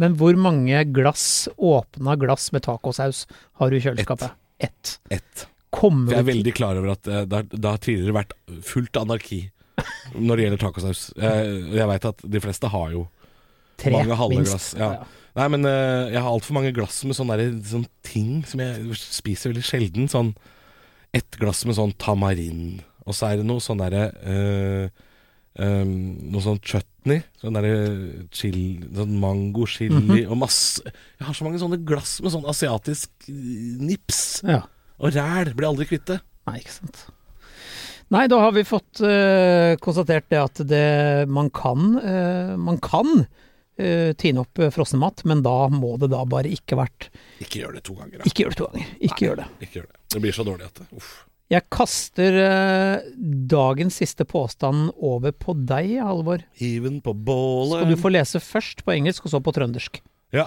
Speaker 3: Men hvor mange glass, åpna glass med tacosaus, har du i kjøleskapet? Ett.
Speaker 4: ett.
Speaker 3: Kommer
Speaker 4: For jeg er
Speaker 3: du
Speaker 4: veldig klar over at eh, det har- det har tidligere vært fullt anarki når det gjelder tacosaus. Eh, Jeg veit at de fleste har jo
Speaker 3: tre,
Speaker 4: mange halve
Speaker 3: minst?
Speaker 4: glass, ja. Nei, men eh, jeg har altfor mange glass med sånne, der, sånn ting som jeg spiser veldig sjelden. Sånn ett glass med sånn tamarin, og så er det noe sånn derre eh, eh, Noe sånn chutney. Sånn derre chili Sånn mango chili og masse Jeg har så mange sånne glass med sånn asiatisk eh, nips
Speaker 3: ja.
Speaker 4: og ræl. Blir aldri kvitt det.
Speaker 3: Nei, ikke sant. Nei, da har vi fått eh, konstatert det at det, man kan, eh, man kan eh, tine opp eh, frossenmat, men da må det da bare ikke vært
Speaker 4: Ikke gjør det to ganger, da.
Speaker 3: Ikke gjør det to ganger. Ikke gjør det.
Speaker 4: Ikke gjør det. Det blir så dårlig at det Uff.
Speaker 3: Jeg kaster eh, dagens siste påstand over på deg, Halvor.
Speaker 4: Hiven på bålet
Speaker 3: Skal du få lese først på engelsk, og så på trøndersk.
Speaker 4: Ja.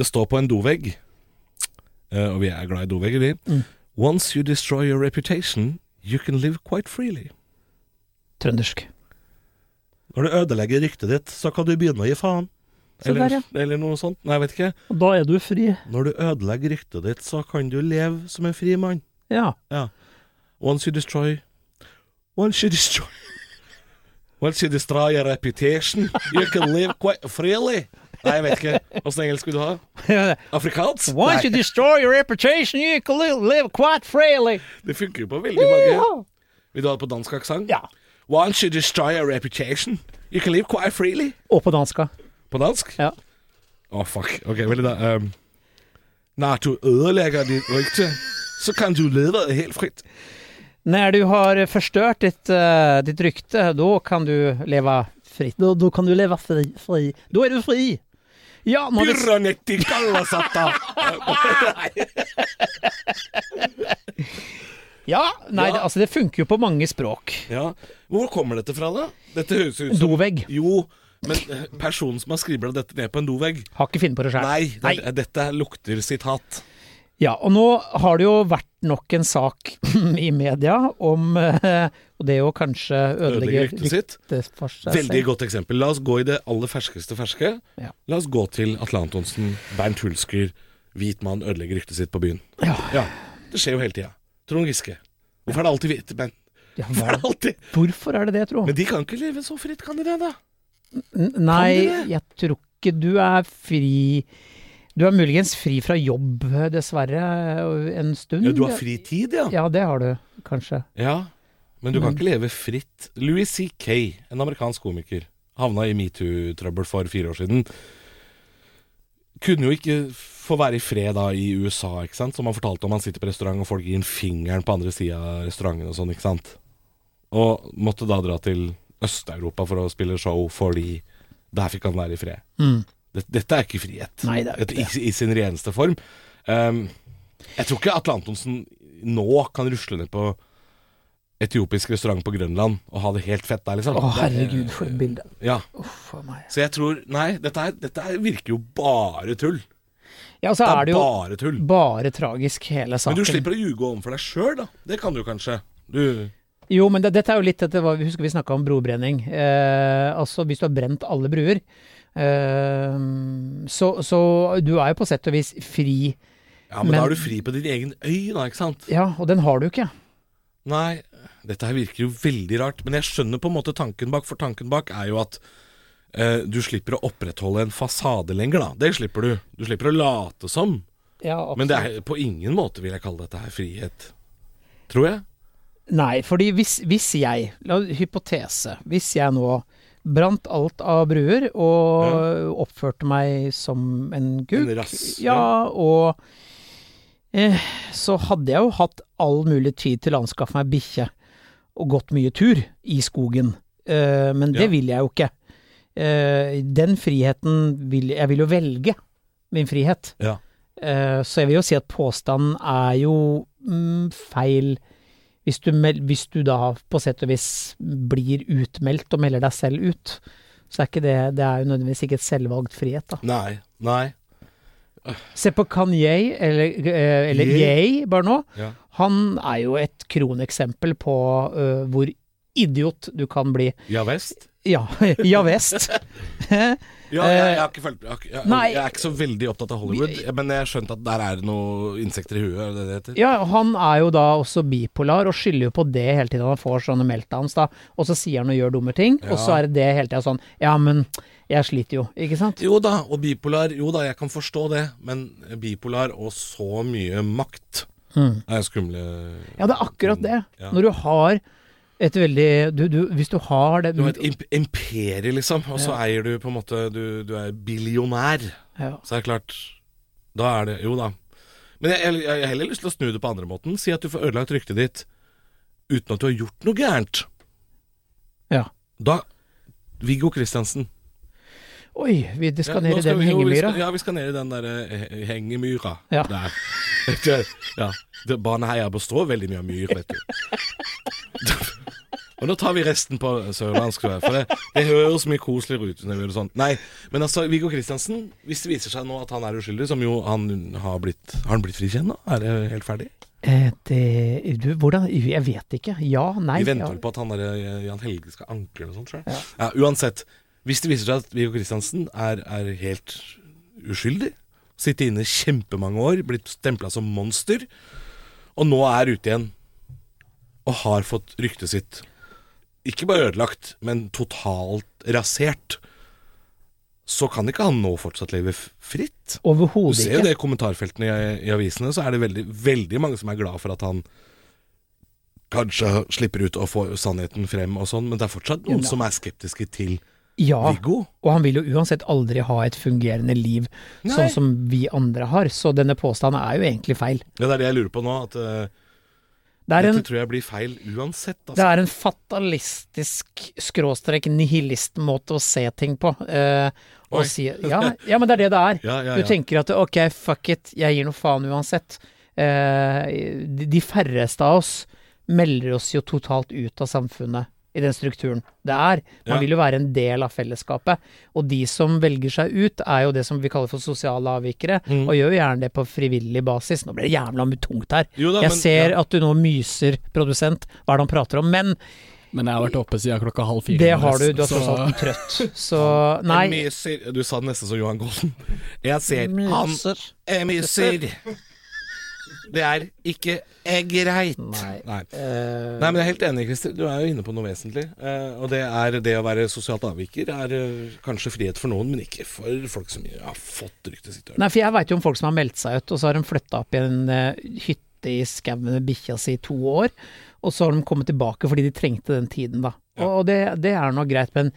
Speaker 4: Det står på en dovegg, eh, og vi er glad i dovegger, vi.
Speaker 3: Mm.
Speaker 4: Once you destroy your reputation, you can live quite freely.
Speaker 3: Trøndersk.
Speaker 4: Når du ødelegger ryktet ditt, så kan du begynne å gi faen.
Speaker 3: Se der, ja.
Speaker 4: eller noe sånt. Nei, jeg vet ikke.
Speaker 3: Og da er du fri.
Speaker 4: Når du ødelegger ryktet ditt, så kan du leve som en fri mann.
Speaker 3: Ja.
Speaker 4: Ja. Once you destroy Once you destroy Once you destroy your reputation, you can live quite freely. Nei, jeg vet ikke. Åssen engelsk vil du ha? Afrikansk?
Speaker 3: Once you
Speaker 4: Nei,
Speaker 3: destroy your reputation, you can li- live quite freely.
Speaker 4: det funker jo på veldig mange. Vil du ha det på dansk aksent?
Speaker 3: Ja.
Speaker 4: Once you destroy your reputation, you can live quite freely.
Speaker 3: Og på danska.
Speaker 4: På dansk?
Speaker 3: Ja.
Speaker 4: Å, fuck. Ok, veldig da. Um, når du ødelegger ditt rykte, så kan du leve helt fritt.
Speaker 3: När du har förstört ditt, eh, ditt rykte, då kan du leva fritt. Då, då kan du leva fri, fri. Då är du fri! Ja, nå har vi
Speaker 4: Pyronetti kallasata!
Speaker 3: Ja, nei,
Speaker 4: Ja.
Speaker 3: Det, altså det funker jo på mange språk.
Speaker 4: Ja. Hvor kommer dette fra, da? Dette høres ut som
Speaker 3: Dovegg.
Speaker 4: Jo, men eh, personen som har skribla dette ned på en dovegg
Speaker 3: Har ikke funnet på det sjøl.
Speaker 4: Nei, det, dette lukter sitat.
Speaker 3: Ja, og nå har det jo vært nok en sak i media om eh, Og det å kanskje ødelegge
Speaker 4: Ødelegger ryktet sitt.
Speaker 3: ryktet for seg
Speaker 4: Veldig
Speaker 3: selv.
Speaker 4: godt eksempel. La oss gå i det aller ferskeste ferske.
Speaker 3: Ja.
Speaker 4: La oss gå til Atle Antonsen, Bernt Hulsker, hvit mann ødelegger ryktet sitt på byen.
Speaker 3: Ja.
Speaker 4: Det skjer jo hele tida. Trond Giske. Hvorfor er det alltid hvite menn?
Speaker 3: Ja,
Speaker 4: Hvorfor er
Speaker 3: hva,
Speaker 4: det alltid?
Speaker 3: hvorfor er det det, tro?
Speaker 4: Men de kan ikke leve så fritt, kan de det, da?
Speaker 3: N- Nei,
Speaker 4: Kan du det?
Speaker 3: jeg tror ikke du er fri Du er muligens fri fra jobb, dessverre, en stund.
Speaker 4: Ja, du har fri tid, ja.
Speaker 3: Ja, det har du kanskje.
Speaker 4: Ja, men du kan ikke leve fritt. Louis C.K., en amerikansk komiker, havna i metoo-trøbbel for fire år siden. Kunne jo ikke få være i fred da i USA, ikke sant? som han fortalte om. Han sitter på restaurant, og folk gir en fingeren på andre sida av restauranten og sånn, ikke sant. Og måtte da dra til Øst-Europa for å spille show fordi der fikk han være i fred. Det- Dette er ikke frihet
Speaker 3: Mm. Nei, det er jo ikke
Speaker 4: Et- i, i sin reneste form. Ehm, jeg tror ikke Atle Antonsen nå kan rusle ned på etiopisk restaurant på Grønland og ha det helt fett der, liksom.
Speaker 3: Å,
Speaker 4: Det-
Speaker 3: herregud, for et bilde.
Speaker 4: Ja,
Speaker 3: Uff a meg.
Speaker 4: Så jeg tror Nei, dette, her, dette her virker jo bare tull.
Speaker 3: Ja, og så
Speaker 4: Det
Speaker 3: er
Speaker 4: er
Speaker 3: det jo
Speaker 4: bare tull.
Speaker 3: bare tragisk, hele
Speaker 4: Men
Speaker 3: saken.
Speaker 4: du slipper å ljuge overfor deg sjøl, da. Det kan du kanskje. Du
Speaker 3: Jo, men det, dette er jo litt dette var, Husker vi snakka om brobrenning. Eh, altså, hvis du har brent alle bruer, eh, så, så du er jo på sett og vis fri.
Speaker 4: Ja, men,
Speaker 3: Men-
Speaker 4: da er du fri på din egen øy, da, ikke sant?
Speaker 3: Ja, og den har du ikke.
Speaker 4: Nei, dette her virker jo veldig rart. Men jeg skjønner på en måte tanken bak, for tanken bak er jo at eh, du slipper å opprettholde en fasade lenger, da. Det slipper du. Du slipper å late som.
Speaker 3: Ja,
Speaker 4: Men det er, på ingen måte vil jeg kalle dette her frihet. Tror jeg.
Speaker 3: Nei, fordi hvis, hvis jeg la, Hypotese. Hvis jeg nå brant alt av bruer og oppførte meg som en gud
Speaker 4: En rass,
Speaker 3: Ja, og eh, så hadde jeg jo hatt all mulig tid til å anskaffe meg bikkje og gått mye tur i skogen. Eh, men det
Speaker 4: Ja.
Speaker 3: vil jeg jo ikke. Eh, den friheten vil Jeg vil jo velge min frihet.
Speaker 4: Ja.
Speaker 3: Eh, Så jeg vil jo si at påstanden er jo mm, feil hvis du, mel hvis du da på sett og vis blir utmeldt og melder deg selv ut. Så er ikke det, det er jo nødvendigvis ikke et selvvalgt frihet, da.
Speaker 4: Nei. Nei.
Speaker 3: Se på Kanye, eller, eh, eller
Speaker 4: Ye.
Speaker 3: Yay, bare nå.
Speaker 4: Ja.
Speaker 3: Han er jo et kroneksempel på eh, hvor idiot du kan bli.
Speaker 4: Ja visst.
Speaker 3: Ja, ja visst.
Speaker 4: Ja, jeg, jeg har ikke fulgt jeg, har ikke- jeg,
Speaker 3: Nei.
Speaker 4: jeg er ikke så veldig opptatt av Hollywood, men jeg har skjønt at der er det noe insekter i huet, er det det heter?
Speaker 3: Ja, og han er jo da også bipolar, og skylder jo på det hele tiden han får sånne meltdowns, da. Og så sier han og gjør dumme ting, og så er det det hele tida sånn Ja, men jeg sliter jo, ikke sant?
Speaker 4: Jo da, og bipolar Jo da, jeg kan forstå det, men bipolar og så mye makt er skumle
Speaker 3: Ja, det er akkurat det.
Speaker 4: Ja.
Speaker 3: Når du har et veldig du, du, Hvis du har det
Speaker 4: Du har et imp imperie, liksom, og så eier du på en måte Du, du er billionær.
Speaker 3: ja.
Speaker 4: Så er det klart Da er det Jo da. Men jeg, jeg, jeg har heller lyst til å snu det på andre måten. Si at du får ødelagt ryktet ditt uten at du har gjort noe gærent.
Speaker 3: ja.
Speaker 4: Da Viggo Kristiansen.
Speaker 3: Oi, vi, det skal
Speaker 4: Ja, nå
Speaker 3: ned i den
Speaker 4: vi- jo, vi
Speaker 3: hengemyra.
Speaker 4: skal- Ja, vi skal ned i den der eh, hengemyra.
Speaker 3: Ja.
Speaker 4: Der. Det- ja. Det, Baneheia består veldig mye av myr, vet du. Og nå tar vi resten på eh, sørlandsk, tror jeg, for det, det høres mye koseligere ut. Når vi gjør det sånn. Nei, men altså, Viggo Kristiansen, hvis det viser seg nå at han er uskyldig, som jo han har blitt Har han blitt frikjent nå? Er det helt ferdig?
Speaker 3: Eh, det, du, hvordan Jeg vet ikke. Ja, nei.
Speaker 4: Vi venter
Speaker 3: ja.
Speaker 4: vel på at han der, eh, Jan Helge skal anke eller noe sånt. tror jeg. Ja, uansett, hvis det viser seg at Viggo Kristiansen er, er helt uskyldig, sitter inne kjempemange år, blitt stempla som monster, og nå er ute igjen og har fått ryktet sitt ikke bare ødelagt, men totalt rasert, så kan ikke han nå fortsatt leve f- fritt. Du
Speaker 3: Overhodet
Speaker 4: ser jo
Speaker 3: ikke.
Speaker 4: det i kommentarfeltene i, i avisene, så er det veldig, veldig mange som er glad for at han kanskje slipper ut og får sannheten frem og sånn, men det er fortsatt noen
Speaker 3: Ja.
Speaker 4: som er skeptiske til
Speaker 3: Ja,
Speaker 4: Viggo?
Speaker 3: og han vil jo uansett aldri ha et fungerende liv
Speaker 4: Nei.
Speaker 3: sånn som vi andre har, så denne påstanden er jo egentlig feil.
Speaker 4: Ja, det er det jeg lurer på nå. At eh,
Speaker 3: Det er en,
Speaker 4: dette tror jeg blir feil uansett.
Speaker 3: det
Speaker 4: Altså.
Speaker 3: er en fatalistisk skråstrek nihilist måte å se ting på. Eh,
Speaker 4: Oi.
Speaker 3: og si, ja, ja, men det er det det er.
Speaker 4: Ja, ja,
Speaker 3: Du
Speaker 4: ja.
Speaker 3: tenker at ok, fuck it, jeg gir noe faen uansett. Eh, de, de færreste av oss melder oss jo totalt ut av samfunnet i den strukturen det er. Man
Speaker 4: Ja.
Speaker 3: vil jo være en del av fellesskapet. Og de som velger seg ut, er jo det som vi kaller for sosiale avvikere,
Speaker 4: Mm.
Speaker 3: og gjør jo gjerne det på frivillig basis. Nå ble det jævla mye tungt her.
Speaker 4: Jo da,
Speaker 3: Jeg
Speaker 4: men-
Speaker 3: ser
Speaker 4: ja.
Speaker 3: at du nå myser, produsent, hva er det han prater om? Men
Speaker 5: Men jeg har vært oppe siden klokka halv fire.
Speaker 3: det har du, du er
Speaker 5: så-
Speaker 3: tross alt trøtt. Så
Speaker 4: Jeg
Speaker 3: nei.
Speaker 4: myser Du sa det nesten som Johan Golden. Jeg ser han Jeg myser. Det er ikke eh, greit.
Speaker 3: Nei.
Speaker 4: Nei.
Speaker 3: Eh,
Speaker 4: Nei, men jeg er helt enig, Christer. Du er jo inne på noe vesentlig. Eh, og det er det å være sosialt avviker er eh, kanskje frihet for noen, men ikke for folk som har fått ryktet sitt.
Speaker 3: Nei, for jeg veit jo om folk som har meldt seg ut, og så har de flytta opp i en eh, hytte i skauen med bikkja si i to år, og så har de kommet tilbake fordi de trengte den tiden, da. Og, og det, det er nå greit, men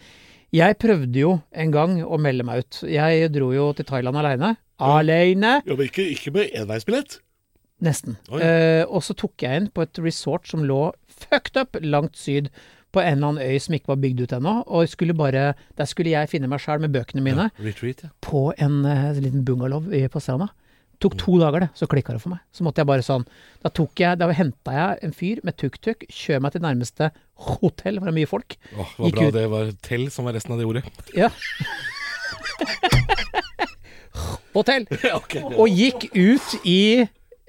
Speaker 3: jeg prøvde jo en gang å melde meg ut. Jeg dro jo til Thailand aleine.
Speaker 4: Mm.
Speaker 3: Aleine!
Speaker 4: Ja, men ikke, ikke med enveisbillett.
Speaker 3: Nesten.
Speaker 4: Oi.
Speaker 3: Eh, og så tok jeg inn på et resort som lå fucked up langt syd på en eller annen øy som ikke var bygd ut ennå, og skulle bare, der skulle jeg finne meg sjæl med bøkene mine
Speaker 4: Retreat, ja.
Speaker 3: på en eh, liten bungalow i- på stranda. Tok
Speaker 4: Mm.
Speaker 3: to dager, det, så klikka det for meg. Så måtte jeg bare sånn Da, tok jeg- da henta jeg en fyr med tuk-tuk, kjør meg til nærmeste hotell, for det er mye folk.
Speaker 4: Åh, det var
Speaker 3: Gikk
Speaker 4: bra
Speaker 3: ut.
Speaker 4: det var tell som var resten av det ordet.
Speaker 3: Ja. hotell! Og gikk ut i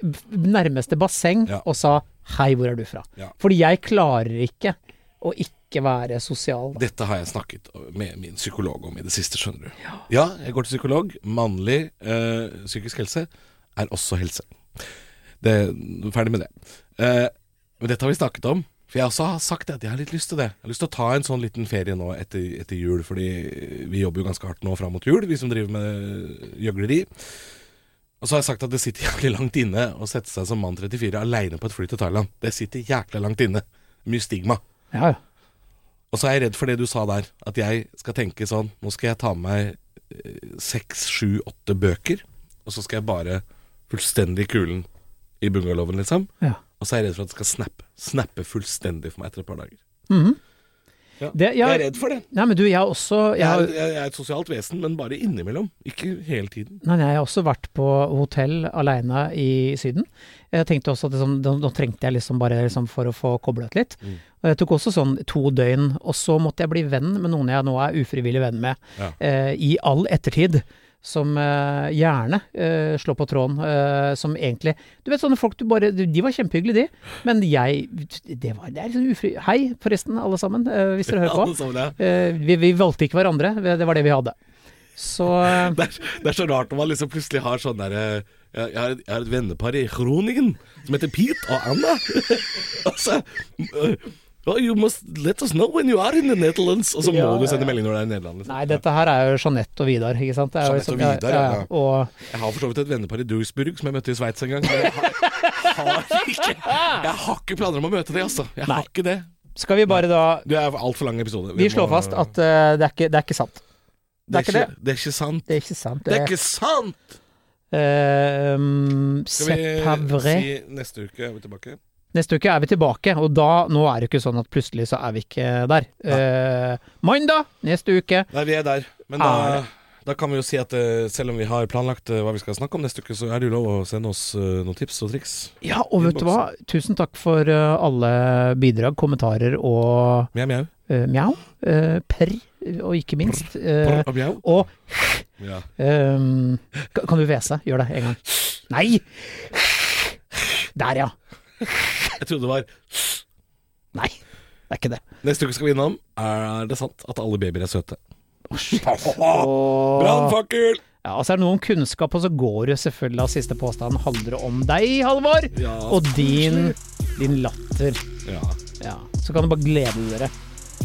Speaker 3: b- nærmeste basseng
Speaker 4: Ja.
Speaker 3: og sa 'hei, hvor er du fra?'
Speaker 4: Ja.
Speaker 3: Fordi jeg klarer ikke å ikke være sosial. Da.
Speaker 4: Dette har jeg snakket med min psykolog om i det siste, skjønner du. Ja, jeg går til psykolog. Mannlig eh, psykisk helse er også helse. Det, ferdig med det. Eh, men dette har vi snakket om. For jeg også har sagt at jeg har litt lyst til det. Jeg har lyst til å ta en sånn liten ferie nå etter, etter jul, fordi vi jobber jo ganske hardt nå fram mot jul, vi som driver med gjøgleri. Og så har jeg sagt at det sitter jævlig langt inne å sette seg som mann 34 aleine på et fly til Thailand. Det sitter jækla langt inne. Mye stigma.
Speaker 3: Ja, ja.
Speaker 4: Og så er jeg redd for det du sa der, at jeg skal tenke sånn Nå skal jeg ta med meg eh, seks, sju, åtte bøker, og så skal jeg bare fullstendig kulen i bungalowen, liksom.
Speaker 3: ja.
Speaker 4: Og så er jeg redd for at det skal snappe. Snappe fullstendig for meg etter et par dager. ja.
Speaker 3: Det- ja.
Speaker 4: Jeg er redd for det.
Speaker 3: Nei, men du, jeg har også jeg
Speaker 4: Jeg
Speaker 3: har,
Speaker 4: er, jeg er et sosialt vesen, men bare innimellom. Ikke hele tiden.
Speaker 3: Nei, nei, jeg har også vært på hotell aleine i Syden. Jeg tenkte også at liksom, da, da trengte jeg liksom bare liksom for å få koblet litt.
Speaker 4: Mm.
Speaker 3: Og jeg tok også sånn to døgn, og så måtte jeg bli venn med noen jeg nå er ufrivillig venn med,
Speaker 4: Ja.
Speaker 3: eh, i all ettertid. Som eh, gjerne eh, slår på tråden, eh, som egentlig Du vet sånne folk du bare du- De var kjempehyggelige, de, men jeg Det var det er liksom ufri... Hei, forresten, alle sammen, eh, hvis dere hører på.
Speaker 4: Alle sammen, ja.
Speaker 3: Eh, vi, vi valgte ikke hverandre, det var det vi hadde. Så
Speaker 4: det, er, det er så rart når man liksom plutselig har sånn derre jeg, jeg, har et- jeg har et vennepar i Groningen som heter Pete og Anna. altså oh, You must let us know when you are in the Netherlands. Og så må
Speaker 3: Ja,
Speaker 4: du sende melding når du er i Nederland. Liksom.
Speaker 3: Nei, dette her er jo Jeanette og Vidar, ikke sant? Det er jo
Speaker 4: Jeanette og
Speaker 3: liksom-
Speaker 4: Vidar, ja.
Speaker 3: Og,
Speaker 4: Jeg har for så vidt et vennepar i Duisburg som jeg møtte i Sveits en gang. Men jeg har, har ikke Jeg har ikke planer om å møte det, altså. Jeg har ikke det.
Speaker 3: skal vi bare da
Speaker 4: Du er altfor lang episode.
Speaker 3: Vi
Speaker 4: må-
Speaker 3: slår fast at eh, det, er ikke, det er ikke sant. Det er ikke det.
Speaker 4: Det er ikke sant.
Speaker 3: Det Eh, er ikke sant.
Speaker 4: Det er ikke sant!
Speaker 3: um,
Speaker 4: Skal vi
Speaker 3: Sepavre.
Speaker 4: si neste uke er vi tilbake?
Speaker 3: Neste uke er vi tilbake, og da Nå er det ikke sånn at plutselig så er vi ikke der. Eh, mandag neste uke.
Speaker 4: Nei, vi er der. Men
Speaker 3: Er
Speaker 4: da, da kan vi jo si at eh, selv om vi har planlagt eh, hva vi skal snakke om neste uke, så er det jo lov å sende oss eh, noen tips og triks.
Speaker 3: Ja, og vet du hva? Tusen takk for eh, alle bidrag, kommentarer og
Speaker 4: Mjau, mjau.
Speaker 3: eh, mjau. eh, per, og ikke minst. eh,
Speaker 4: Brr, mjau.
Speaker 3: og
Speaker 4: Ja.
Speaker 3: Ehm, ka- kan du hvese? Gjør det en gang. Nei! Der, ja.
Speaker 4: Jeg trodde det var
Speaker 3: Nei, det er ikke det.
Speaker 4: Neste uke skal vi innom Er det sant at alle babyer er søte?
Speaker 3: Og,
Speaker 4: Brannfakkel!
Speaker 3: ja, altså er det noe om kunnskap, og så går det selvfølgelig av siste påstanden handler om deg, Halvor.
Speaker 4: Ja,
Speaker 3: Og din, din latter.
Speaker 4: Ja.
Speaker 3: Ja, så kan du bare glede dere.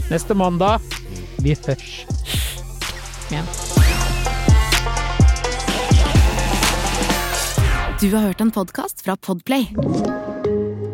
Speaker 3: Neste mandag, vi hørs. Igjen.
Speaker 2: Du har hørt en podcast fra Podplay.